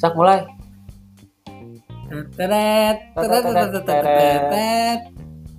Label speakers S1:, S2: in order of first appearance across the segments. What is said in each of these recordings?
S1: Sak mulai.
S2: Teret, teret, teret, teret, teret, teret.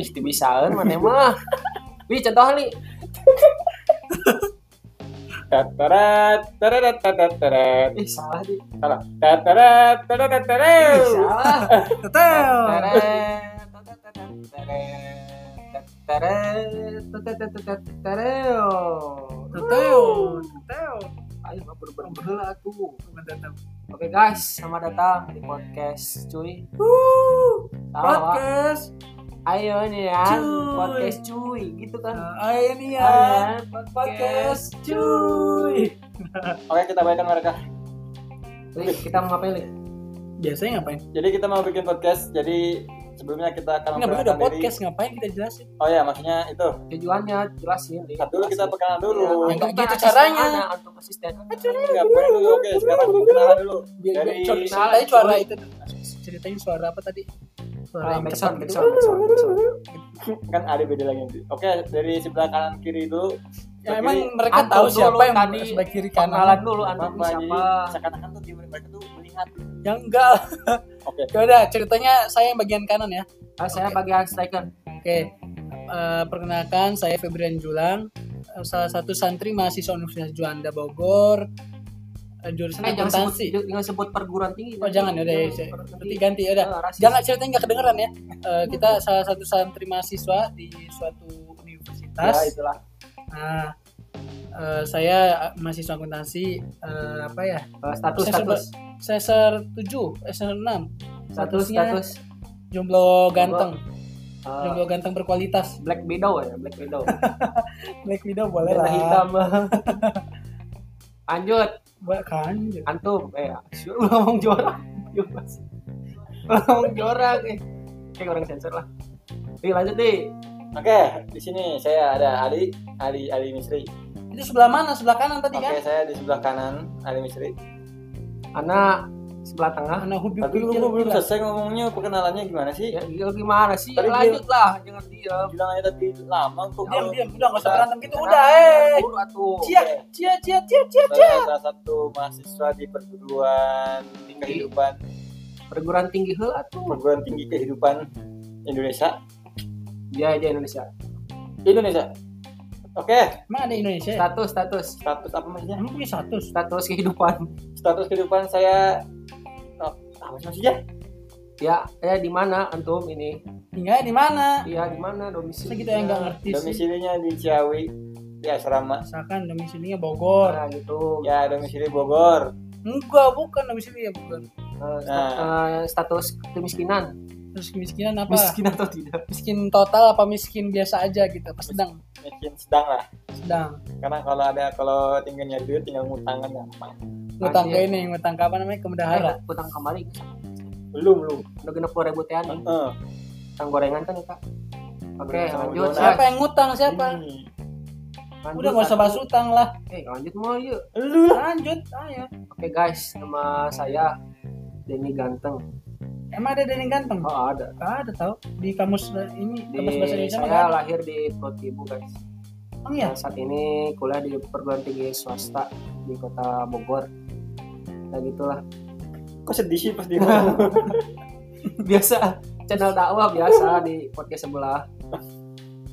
S1: Ih, dibisaan mana mah. Wih, contoh li.
S3: Tatarat, tatarat, tatarat.
S1: Ih, salah di.
S3: Salah. Tatarat, tatarat,
S1: Ih,
S3: tatarat.
S1: salah.
S2: Tetel. Tetel. Tetel.
S1: Ayo mah berber lah tuh. Oke guys, selamat datang di podcast cuy.
S2: Wuh,
S1: Sama
S2: Podcast.
S1: ayo nih ya,
S2: Cuy.
S1: podcast cuy gitu kan.
S2: Nah, ayo nih ya.
S1: Ayo,
S2: Podcast cuy.
S3: Oke, kita baikkan mereka.
S1: Li, kita mau ngapain li?
S2: Biasanya ngapain?
S3: Jadi kita mau bikin podcast. Jadi sebelumnya kita
S2: Enggak perlu
S3: akan
S2: udah
S3: memperkenalkan
S2: podcast ngapain kita jelasin?
S3: diri. Oh ya, maksudnya itu.
S1: Tujuannya jelasin li.
S3: Nah, dulu kita perkenalan dulu.
S1: Iya,
S2: Enggak
S1: untuk
S2: gitu
S1: konsisten
S2: caranya.
S1: anak, Untuk konsisten.
S3: Enggak boleh dulu. Oke, sekarang perkenalan dulu.
S2: Biar
S3: Dari-
S2: biar- ceritain suara itu. Ceritain suara apa tadi?
S1: Ah,
S2: Suara yang
S1: backsound,
S2: tepat gitu.
S1: backsound, backsound, backsound.
S3: Kan ada beda lagi nanti. Oke, dari sebelah kanan kiri dulu.
S2: Ya,
S3: Sebelah
S2: emang
S3: kiri,
S2: mereka
S1: Antum
S2: tahu
S1: dulu
S2: siapa yang
S1: tadi,
S2: sebelah kiri
S1: Kenalan
S2: kanan.
S1: dulu antum
S3: apa jadi
S1: siapa?
S3: seakan-akan tuh di mereka tuh melihat.
S2: Yang enggak.
S3: Oke.
S2: Ya udah, ceritanya saya yang bagian kanan ya.
S1: Ah, saya bagian striker.
S2: Oke, eh, perkenalkan saya Febrian Julang, eh, salah satu santri mahasiswa Universitas Juanda Bogor, eh, jurusan
S1: Eh, jangan sebut,
S2: akuntansi.
S1: jangan sebut perguruan tinggi.
S2: Oh jangan, udah ya, saya-
S1: perguruan
S2: berarti
S1: tinggi.
S2: ganti, udah.
S1: Ah, rasis.
S2: Jangan ceritanya nggak kedengeran ya. Eh, kita salah satu santri mahasiswa di suatu
S3: Ya,
S2: universitas.
S3: itulah.
S2: Nah, eh, saya eh, mahasiswa akuntansi eh, apa ya?
S1: Eh, status,
S2: Saya
S1: status,
S2: Semester 7, eh, semester 6.
S1: status,
S2: statusnya-
S1: status.
S2: Jomblo ganteng,
S1: Eh,
S2: jomblo ganteng berkualitas.
S1: Black Widow ya, Black Widow.
S2: Black Widow boleh
S1: Warna
S2: lah.
S1: hitam. Lanjut,
S2: Buat kan.
S1: antum. Eh, siur, lu ngomong jorang. Yuk, Mas. Lu ngomong jorang. Eh, kayak orang sensor lah. Nih, lanjut nih.
S3: Oke, di sini saya ada Ali, Ali, Ali Misri.
S2: Itu sebelah mana? Sebelah kanan tadi
S3: Oke,
S2: kan?
S3: saya di sebelah kanan Ali Misri.
S1: Anak sebelah tengah.
S2: Nah, hobi
S3: Tapi lu belum selesai ngomongnya perkenalannya gimana sih?
S1: Ya, gila, gimana sih?
S3: Tadi
S1: lanjut lah, jangan diam.
S3: Bilang aja tapi lama tuh.
S2: Diam, diam. Udah nggak usah berantem gitu.
S1: Jangan
S2: Udah, eh.
S1: buru atuh.
S2: Cia, cia, cia, cia, cia.
S3: Saya salah satu mahasiswa di perguruan kehidupan,
S1: Perguruan tinggi heula atuh.
S3: perguruan tinggi kehidupan Indonesia.
S1: Dia aja Ya, Indonesia.
S3: Indonesia. Oke,
S2: Emang ada Indonesia? ya?
S1: Status, status,
S3: status apa maksudnya?
S2: Emang punya satu.
S1: status kehidupan.
S3: Status kehidupan saya oh, apa sih maksudnya?
S1: Ya, ya di mana antum ini?
S2: Tinggalnya di mana?
S1: Iya, di mana domisili? Ya,
S2: Saya gitu yang nggak ngerti sih.
S3: Domisilinya di Ciawi, di asrama.
S2: Misalkan domisilinya Bogor.
S1: Nah, gitu.
S3: Ya, domisili Bogor.
S2: Enggak, bukan domisili ya bukan.
S1: Eh, sta-
S3: Nah.
S1: eh, status kemiskinan.
S2: Terus kemiskinan apa?
S1: Miskin atau tidak?
S2: Miskin total apa miskin biasa aja gitu? Apa sedang?
S3: Miskin sedang lah.
S2: Sedang.
S3: Karena kalau ada kalau tinggal nyari duit tinggal ngutangan gampang.
S2: Ngutang
S1: Anjir.
S2: ke ini, ngutang ke apa namanya? Ke bendahara.
S1: Eh, utang kembali.
S3: Belum, belum.
S1: Udah genep puluh ribu
S2: Iya.
S1: teh nih.
S3: Heeh.
S1: Utang gorengan kan ya, Kak? Oke,
S3: Gorengan sama
S1: lanjut.
S3: donat.
S1: Siap.
S2: Siapa yang ngutang siapa?
S3: Ini.
S1: Lanjut,
S2: Udah nggak usah
S1: satu.
S2: bahas utang lah.
S1: Eh, lanjut mau yuk.
S2: Lu lanjut, ayo.
S1: Oke guys, nama saya Denny Ganteng.
S2: Emang ada dari yang ganteng?
S1: Oh ada.
S2: Gak ada tau di kamus ini
S1: Di,
S2: kamus bahasa Indonesia mah
S1: saya lahir di Protibu guys.
S2: emang ya
S1: Nah, saat ini kuliah di perguruan tinggi swasta di kota Bogor. Nah gitulah.
S3: Kok sedih sih pas dia ngomong?
S1: Biasa channel dakwah biasa di podcast sebelah.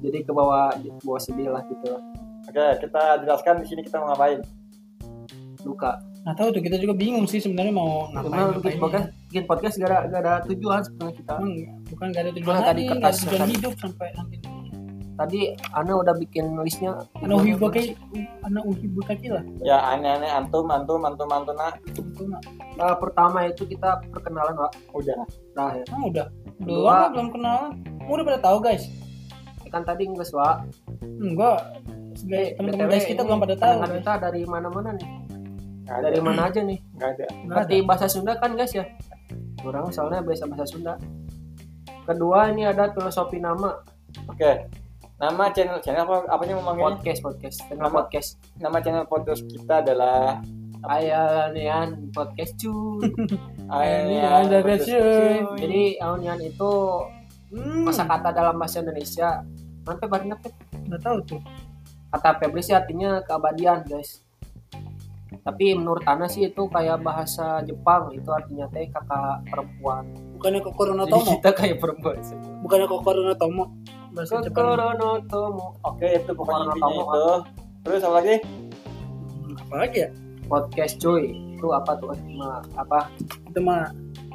S1: Jadi ke bawah di bawah sedih lah gitu lah.
S3: Oke, kita jelaskan di sini kita mau ngapain.
S1: Luka.
S2: nggak tahu tuh kita juga bingung sih sebenarnya mau
S1: Cuma
S2: ngapain
S1: bikin
S2: ngapain
S1: podcast, bikin podcast gara gak ada tujuan sebenarnya kita.
S2: emang bukan gak ada tujuan
S1: Mana tadi
S2: tadi gak ada
S1: kertas-
S2: tujuan
S1: kertas?
S2: hidup sampai nanti
S1: Tadi Ana udah bikin listnya.
S2: anak uhi bukai anak uhi bukaki lah
S3: Ya aneh-aneh antum, antum, antum, antum, nah.
S2: itu mah
S1: Eh, pertama itu kita perkenalan Wak.
S3: Udah.
S1: Nah, ya.
S2: Emang udah
S1: Kedua.
S2: belum lah, belum kenal Emang udah pada tahu guys
S1: kan tadi nggak Wak.
S2: enggak
S1: Eh,
S2: guys teman-teman
S1: BTW,
S2: guys kita
S1: ini
S2: belum pada tahu
S1: pendengar
S2: guys.
S1: kita dari mana-mana nih
S3: Nggak ada.
S1: dari mana aja nih
S3: Nggak ada.
S2: Nggak ada.
S1: ngerti bahasa Sunda kan guys ya orang soalnya biasa bahasa Sunda kedua ini ada filosofi nama
S3: Oke. Nama channel channel apa apa sih
S2: Iya.
S3: ngomongnya?
S1: podcast podcast channel
S3: Nama.
S1: podcast
S3: Nama channel podcast kita adalah
S1: Ayo Nian podcast cuy
S2: Ini
S3: Ayan
S2: Iya, ada
S3: Podcast
S2: cuy.
S3: Cuy. Jadi
S1: jadi Ayo Nian itu
S2: hmm
S1: kosakata dalam bahasa Indonesia sampai baru
S2: nggak tahu tuh
S1: kata Febri sih artinya keabadian guys tapi menurut Ana sih itu kayak bahasa Jepang itu artinya teh kakak perempuan
S2: Bukannya Kokoro no
S1: jadi
S2: Tomo?
S1: kita kayak perempuan semua
S2: Bukannya Kokoro no Tomo? Bahasa Jepang.
S1: Kokoro no Tomo.
S3: Oke itu pokoknya
S1: Warna
S3: intinya
S1: tamu,
S3: itu. Terus apa lagi?
S2: Hmm, Apa lagi ya?
S1: podcast cuy itu apa tuh Ma- apa
S2: Itu mah.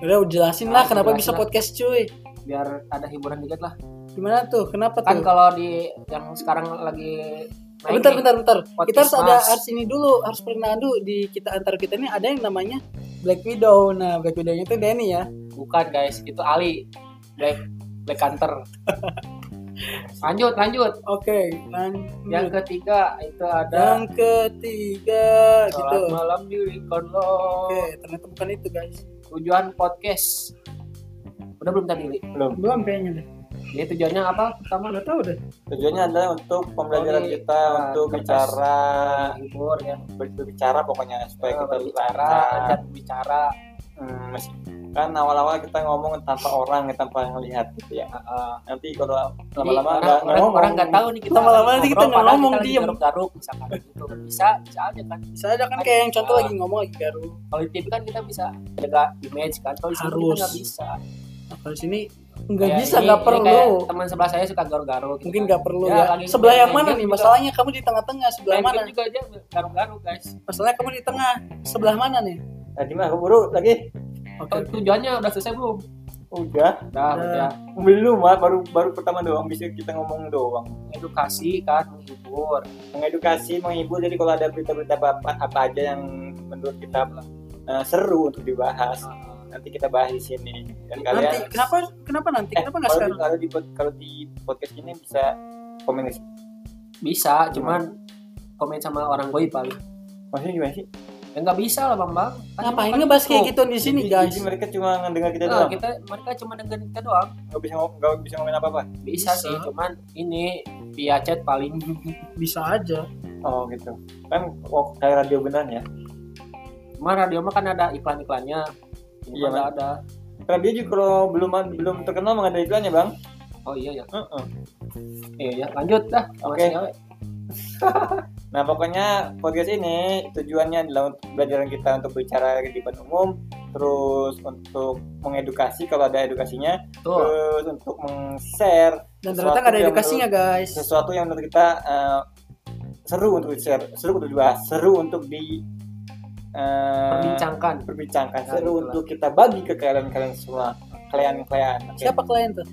S2: Udah jelasin lah
S1: Ah,
S2: kenapa
S1: jelasin
S2: bisa
S1: lah.
S2: podcast cuy.
S1: biar ada hiburan dikit lah
S2: Gimana tuh? Kenapa
S1: kan
S2: tuh?
S1: kalau di yang sekarang lagi naik
S2: bentar,
S1: nih,
S2: bentar, bentar.
S1: podcast
S2: Kita harus ada
S1: mas.
S2: harus ini dulu, harus perkenalan dulu di kita antar kita ini ada yang namanya Black Widow. Nah, Black Widow-nya itu Denny ya.
S1: bukan guys itu Ali Black Black Hunter lanjut lanjut
S2: Oke, kan.
S1: yang ketiga itu ada
S2: yang ketiga
S1: Sholat
S2: gitu.
S1: malam di Lincoln Law.
S2: Oke, ternyata bukan itu, guys.
S1: tujuan podcast udah belum tadi Li?
S3: Belum.
S2: Belum kayaknya deh.
S1: jadi tujuannya apa pertama
S2: Enggak tahu deh.
S3: Tujuannya adalah untuk pembelajaran
S1: Oke,
S3: kita
S1: nah,
S3: untuk
S1: kertas.
S3: bicara
S1: hibur ya Eh,
S3: berbicara pokoknya supaya kita
S1: bicara
S3: lancar.
S1: dan bicara
S3: Hmm, mes- kan awal-awal kita ngomong tanpa orang tanpa ngelihat gitu ya. Nanti kalau
S1: eh,
S2: Iya,
S3: lama-lama
S1: Jadi
S3: nggak
S1: orang orang,
S3: ngomong.
S1: orang nggak tahu nih kita
S2: Lama-lama
S1: lagi
S2: nanti kita nggak
S1: padahal
S2: ngomong,
S1: lagi
S2: diem.
S1: garuk-garuk misalkan gitu bisa bisa aja kan
S2: Bisa aja kan kayak yang contoh lagi ngomong lagi garu.
S1: kalau di TV kan kita bisa jaga image kan kalau di sini kita
S2: Harus.
S1: nggak bisa
S2: Nah, kalau di sini nggak
S1: Kayak
S2: bisa,
S1: Iya, ini-
S2: nggak
S1: ini
S2: perlu.
S1: kayak teman sebelah saya suka garuk-garuk gitu
S2: Mungkin
S1: kan.
S2: nggak perlu
S1: Ya,
S2: ya.
S1: lagi
S2: Sebelah yang
S1: main
S2: mana
S1: game
S2: nih?
S1: juga.
S2: Masalahnya kamu di tengah-tengah, sebelah
S1: Main
S2: mana?
S1: game juga aja garuk-garuk guys
S2: Masalahnya kamu di tengah, sebelah mana nih?
S3: Tadi mah keburu eh, lagi.
S2: Oke.
S1: Tuh- tujuannya udah selesai belum
S3: Udah,
S1: udah
S2: Udah.
S1: udah
S3: belum mah baru baru pertama doang bisa kita ngomong doang.
S1: edukasi kan menghibur
S3: Mengedukasi, menghibur. Jadi kalau ada berita-berita apa, apa aja yang menurut kita eh, seru untuk dibahas. nanti kita bahas di sini dan kalian
S2: Nanti kenapa kenapa nanti?
S3: eh,
S2: Kenapa nggak
S3: kalau,
S2: sekarang?
S3: di, kalau di pod- kalau di podcast ini bisa komen sih.
S2: Iya.
S1: bisa cuman komen sama orang gue paling
S3: maksudnya gimana sih
S1: ya nggak bisa lah bang bang Kan
S2: Ngapain
S1: cuma-
S2: ngebahas kayak gitu di sini,
S3: Jadi-
S2: guys? Oh, gitu.
S3: jadi mereka cuma ngedengar kita
S1: Nah,
S3: doang
S1: kita mereka cuma dengerin kita doang
S3: nggak bisa ngom- nggak bisa ngomongin apa apa
S1: bisa,
S2: Bisa.
S1: sih cuman ini via chat paling
S2: Bisa aja.
S3: oh gitu kan kok kayak radio beneran ya
S1: cuma radio mah kan ada iklan iklannya
S3: Iya,
S1: iya
S2: kan?
S1: nggak ada
S3: radio juga kalau belum belum terkenal nggak ada iklannya bang
S1: oh iya ya
S3: Heeh.
S1: iya ya lanjut dah sama
S3: Oke.
S1: si cewek.
S3: nah pokoknya podcast ini tujuannya adalah untuk pelajaran kita untuk bicara di depan umum terus untuk mengedukasi kalau ada edukasinya
S1: tuh
S3: terus untuk meng-share
S2: Dan
S3: Sesuatu
S2: ternyata nggak ada
S3: yang
S2: edukasinya, guys.
S3: sesuatu yang menurut kita eh, seru untuk di-share, seru untuk dibahas, seru untuk di eh,
S1: perbincangkan
S3: perbincangkan,
S1: Nah,
S3: seru
S1: itulah.
S3: untuk kita bagi ke kalian-kalian semua, kalian-kalian. Oke.
S2: Siapa klien tuh?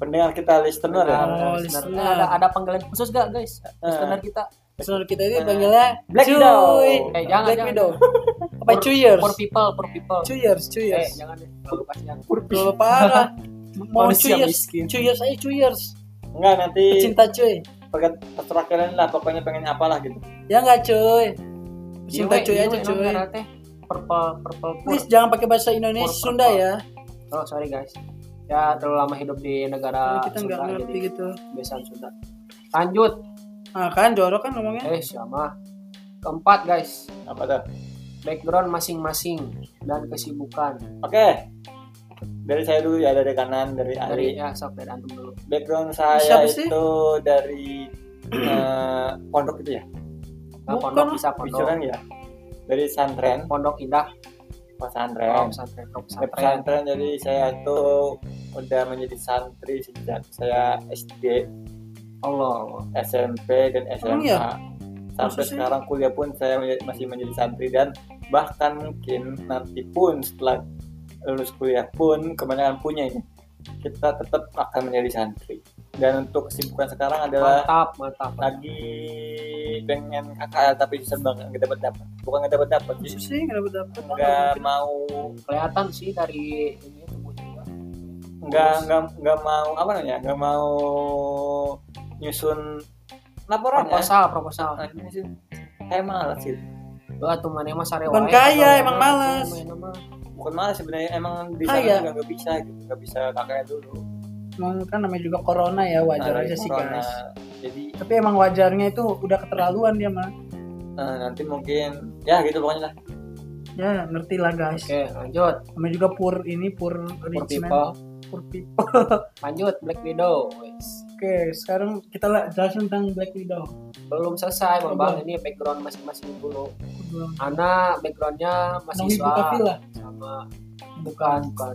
S3: Pendengar kita listener ya.
S1: Nah,
S2: Oh,
S1: listener.
S2: listener.
S1: ada ada panggilan khusus gak guys
S3: Eh,
S1: listener kita
S2: Personal kita itu
S3: Eh,
S2: panggilnya
S3: Black
S2: Cuy.
S3: Widow.
S1: eh jangan
S2: Black
S1: jangan
S2: Widow. Apa
S1: For-
S2: Chuyers?
S1: for people for people
S2: Chuyers,
S1: eh
S2: Chuyers.
S1: jangan deh terlalu kasihan
S2: Kalau parah. Mau
S1: Manusia
S2: Chuyers.
S1: miskin.
S2: Chuyers aja Chuyers.
S3: Enggak nanti
S2: Pecinta cuy.
S3: pegat- terserah kalian lah pokoknya pengen apalah gitu.
S2: Ya nggak cuy.
S1: Iwe,
S2: Pecinta cuy
S1: iwe
S2: aja
S1: emang
S2: cuy.
S1: merah Iya, teh. purple purple pur
S2: Please jangan pakai bahasa Indonesia
S1: For-
S2: Sunda ya.
S1: oh sorry guys ya terlalu lama hidup di negara
S2: kita
S1: Ah,
S2: nggak
S1: Sunda, iya.
S2: ngerti
S1: jadi
S2: gitu.
S1: kebiasaan Sunda lanjut
S2: Nah kan jorok kan ngomongnya.
S1: eh sama keempat guys
S3: Apa tuh?
S1: background masing-masing dan kesibukan
S3: Oke. Dari saya dulu ya dari kanan dari
S1: dari
S3: Ali.
S1: ya sok dari antum dulu
S3: Background saya
S2: Siapa sih?
S3: itu dari eh, pondok itu ya,
S1: Nah,
S2: Bukan
S1: pondok
S2: lah.
S1: bisa pondok
S3: picuran ya. Dari santren,
S1: pondok indah
S3: pesantren.
S2: Iya.
S1: oh, pesantren oh,
S3: Saya
S1: pesantren
S3: pesantren jadi saya tuh udah menjadi santri sejak saya SD,
S1: Allah Allah.
S3: SMP dan
S2: Emang
S3: SMA.
S2: iya?
S3: Sampai
S2: Maksud saya-
S3: sekarang kuliah pun saya menja- masih menjadi santri dan bahkan mungkin nanti pun setelah lulus kuliah pun kebanyakan punya ini kita tetap akan menjadi santri. Dan untuk kesibukan
S2: Ya.
S3: sekarang adalah
S1: mantap mantap
S3: lagi pengen kakak tapi serba nggak dapat dapat bukan nggak dapat dapat sih
S2: Susah nggak dapat dapat.
S3: nggak mau
S1: kelihatan sih dari ini tubuh juga
S3: nggak nggak nggak mau apa namanya nggak mau nyusun laporan ya
S1: proposal proposal
S3: Nah, gini sih. kayak malas gitu
S1: Wah, tuh mana mah sare wae.
S2: Bukan kaya,
S1: Kalau
S2: emang
S1: mana tuh
S2: malas.
S1: mana mah.
S3: bukan malas sebenarnya emang di
S2: Kayak.
S3: sana juga nggak bisa gitu nggak bisa kakaknya dulu
S2: Mau kan namanya juga corona ya wajar
S3: Nah,
S2: aja sih
S3: corona.
S2: guys.
S3: jadi
S2: Tapi emang wajarnya itu udah keterlaluan dia mah.
S3: eh, nanti mungkin ya gitu pokoknya lah
S2: Ya ngerti lah guys.
S1: Oke, lanjut.
S2: Namanya juga pur ini pur
S1: For
S2: rich man.
S1: people.
S2: Pur people.
S1: Lanjut Black Widow. Wes.
S2: Oke, sekarang kita lah jelasin tentang Black Widow.
S1: belum selesai
S2: Oh,
S1: membahas
S2: belum.
S1: ini background masing-masing dulu
S2: Belum.
S1: Ana backgroundnya
S2: Nong Ibu
S1: mahasiswa
S2: Kafila.
S1: sama bukan bukan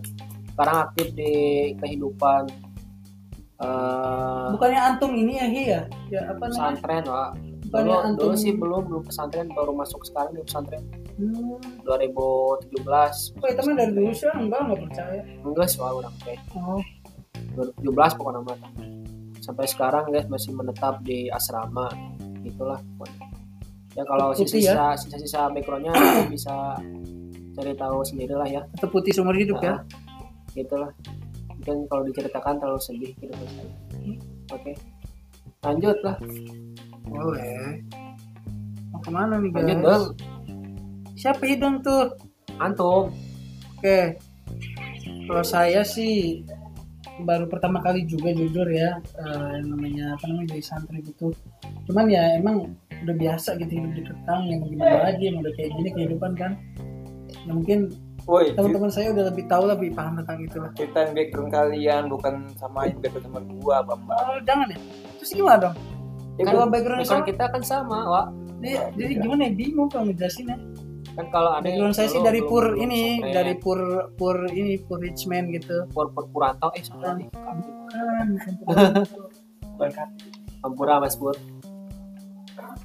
S1: sekarang aktif di kehidupan eh,
S2: Bukannya antum ini ya, Hi ya? Ya apa namanya?
S1: pesantren lah
S2: Bukannya
S1: dulu,
S2: antum.
S1: dulu sih belum belum pesantren baru masuk sekarang di pesantren
S2: Hmm.
S1: 2017
S2: Kok itu mah dari dulu sih, enggak enggak percaya.
S1: enggak soal orang teh
S2: Oh,
S1: 2017 pokoknya mah sampai sekarang guys masih menetap di asrama gitulah pokoknya. ya kalau
S2: Putih
S1: sisa-sisa sisa-sisa backgroundnya nanti bisa cari tahu sendirilah ya
S2: tetap putih seumur hidup ya.
S1: Nah, gitulah mungkin kalau diceritakan terlalu sedih gitu oke
S2: Hmm?
S1: lanjut lah
S2: Boleh. Mau kemana nih guys?
S1: lanjut dong
S2: Siapa hidung tuh?
S1: antum
S2: Oke. Kalau saya sih baru pertama kali juga jujur ya eh, yang namanya apa namanya jadi santri gitu. Cuman ya emang udah biasa gitu hidup di Ketang yang gimana lagi yang udah kayak gini kehidupan kan. Ya mungkin
S3: Woi,
S2: teman-teman saya udah lebih tahu lebih paham tentang itu lah.
S3: ceritain background kalian bukan samain background sama gua, Bambang.
S2: Oh, jangan ya. Terus gimana dong?
S3: Ya,
S2: Kalau
S1: kan
S2: background
S1: background
S2: sama,
S1: kita kan sama wak
S2: jadi, jadi gimana ya bingung kalau ngejelasin ya.
S1: kan kalau ada
S2: Background saya sih
S1: dulu
S2: dari
S1: belum-
S2: pur
S1: belum
S2: ini,
S1: pesantren,
S2: dari pur pur ini pur rich man gitu.
S1: pur pur puranto eh
S2: Hmm.
S1: salah nih
S2: Bukan,
S3: Bukan.
S1: Ampura mas pur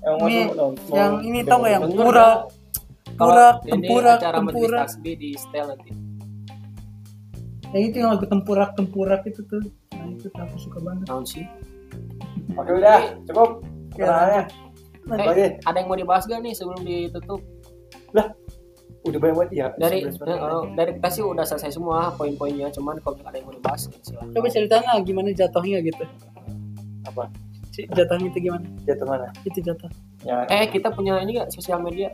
S3: Emang
S2: Ini
S3: masuk dong.
S2: yang
S3: Mau
S2: ini tau gak yang
S1: Dengar
S2: pura
S1: nggak? Kalau
S2: pura
S1: ini
S2: tempurak
S1: acara majelis
S2: tempurak
S1: tasbih di setel nanti
S2: yang Ya, itu yang lagu tempurak tempurak itu tuh nah itu tuh aku suka banget
S1: tahun sih
S3: Oke udah, cukup.
S2: Oke,
S3: Kenalnya.
S2: Iya, lanjut.
S3: Oke,
S1: Eh, ada yang mau dibahas gak nih sebelum ditutup
S3: udah banyak banget ya.
S1: dari
S3: sebelas-
S1: eh, dari kita sih udah selesai semua poin-poinnya cuman kalau ada yang mau dibahas ya silakan
S2: coba ceritain lah gimana jatuhnya gitu
S3: apa?
S2: si jatuhnya itu gimana
S3: Jatuh mana?
S2: itu jatuh
S3: Ya,
S1: eh kita punya ini gak sosial media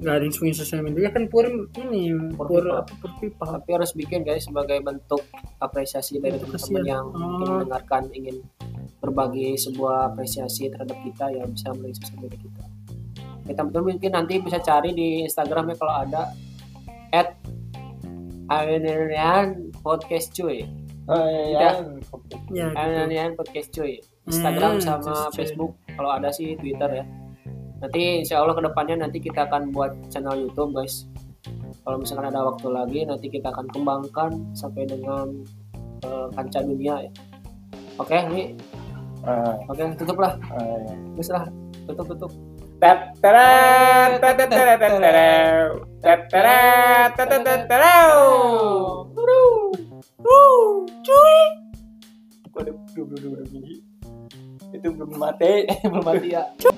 S2: nggak ada yang punya sosial media kan pur ini
S1: Pur
S2: pur
S1: pipa.
S2: apa pur pipa
S1: tapi harus bikin guys sebagai bentuk apresiasi dari
S2: Bentuk
S1: teman-teman
S2: Iya, kasihan.
S1: yang ingin
S2: Oh.
S1: mendengarkan ingin berbagi sebuah apresiasi terhadap kita yang bisa melalui sosial media kita kita betul mungkin nanti bisa cari di Instagramnya kalau ada at Awenerian Podcast Cuy
S3: eh,
S1: Udah.
S3: ya.
S2: ya gitu.
S1: Awenerian Podcast Cuy Instagram
S2: Hmm,
S1: sama
S2: Podcast Cuy.
S1: Facebook kalau ada sih Twitter ya nanti insya Allah kedepannya nanti kita akan buat channel YouTube guys kalau misalkan ada waktu lagi nanti kita akan kembangkan sampai dengan eh, kancah dunia ya oke ini
S3: Eh,
S1: oke tutuplah
S3: eh, ya.
S1: terus lah tutup tutup
S3: Tat tara, tat tat tara, tat tara. Tat tara, tat tat tat tara. Waduh, belum- belum- belum- belum. Itu belum mati.
S1: belum mati ya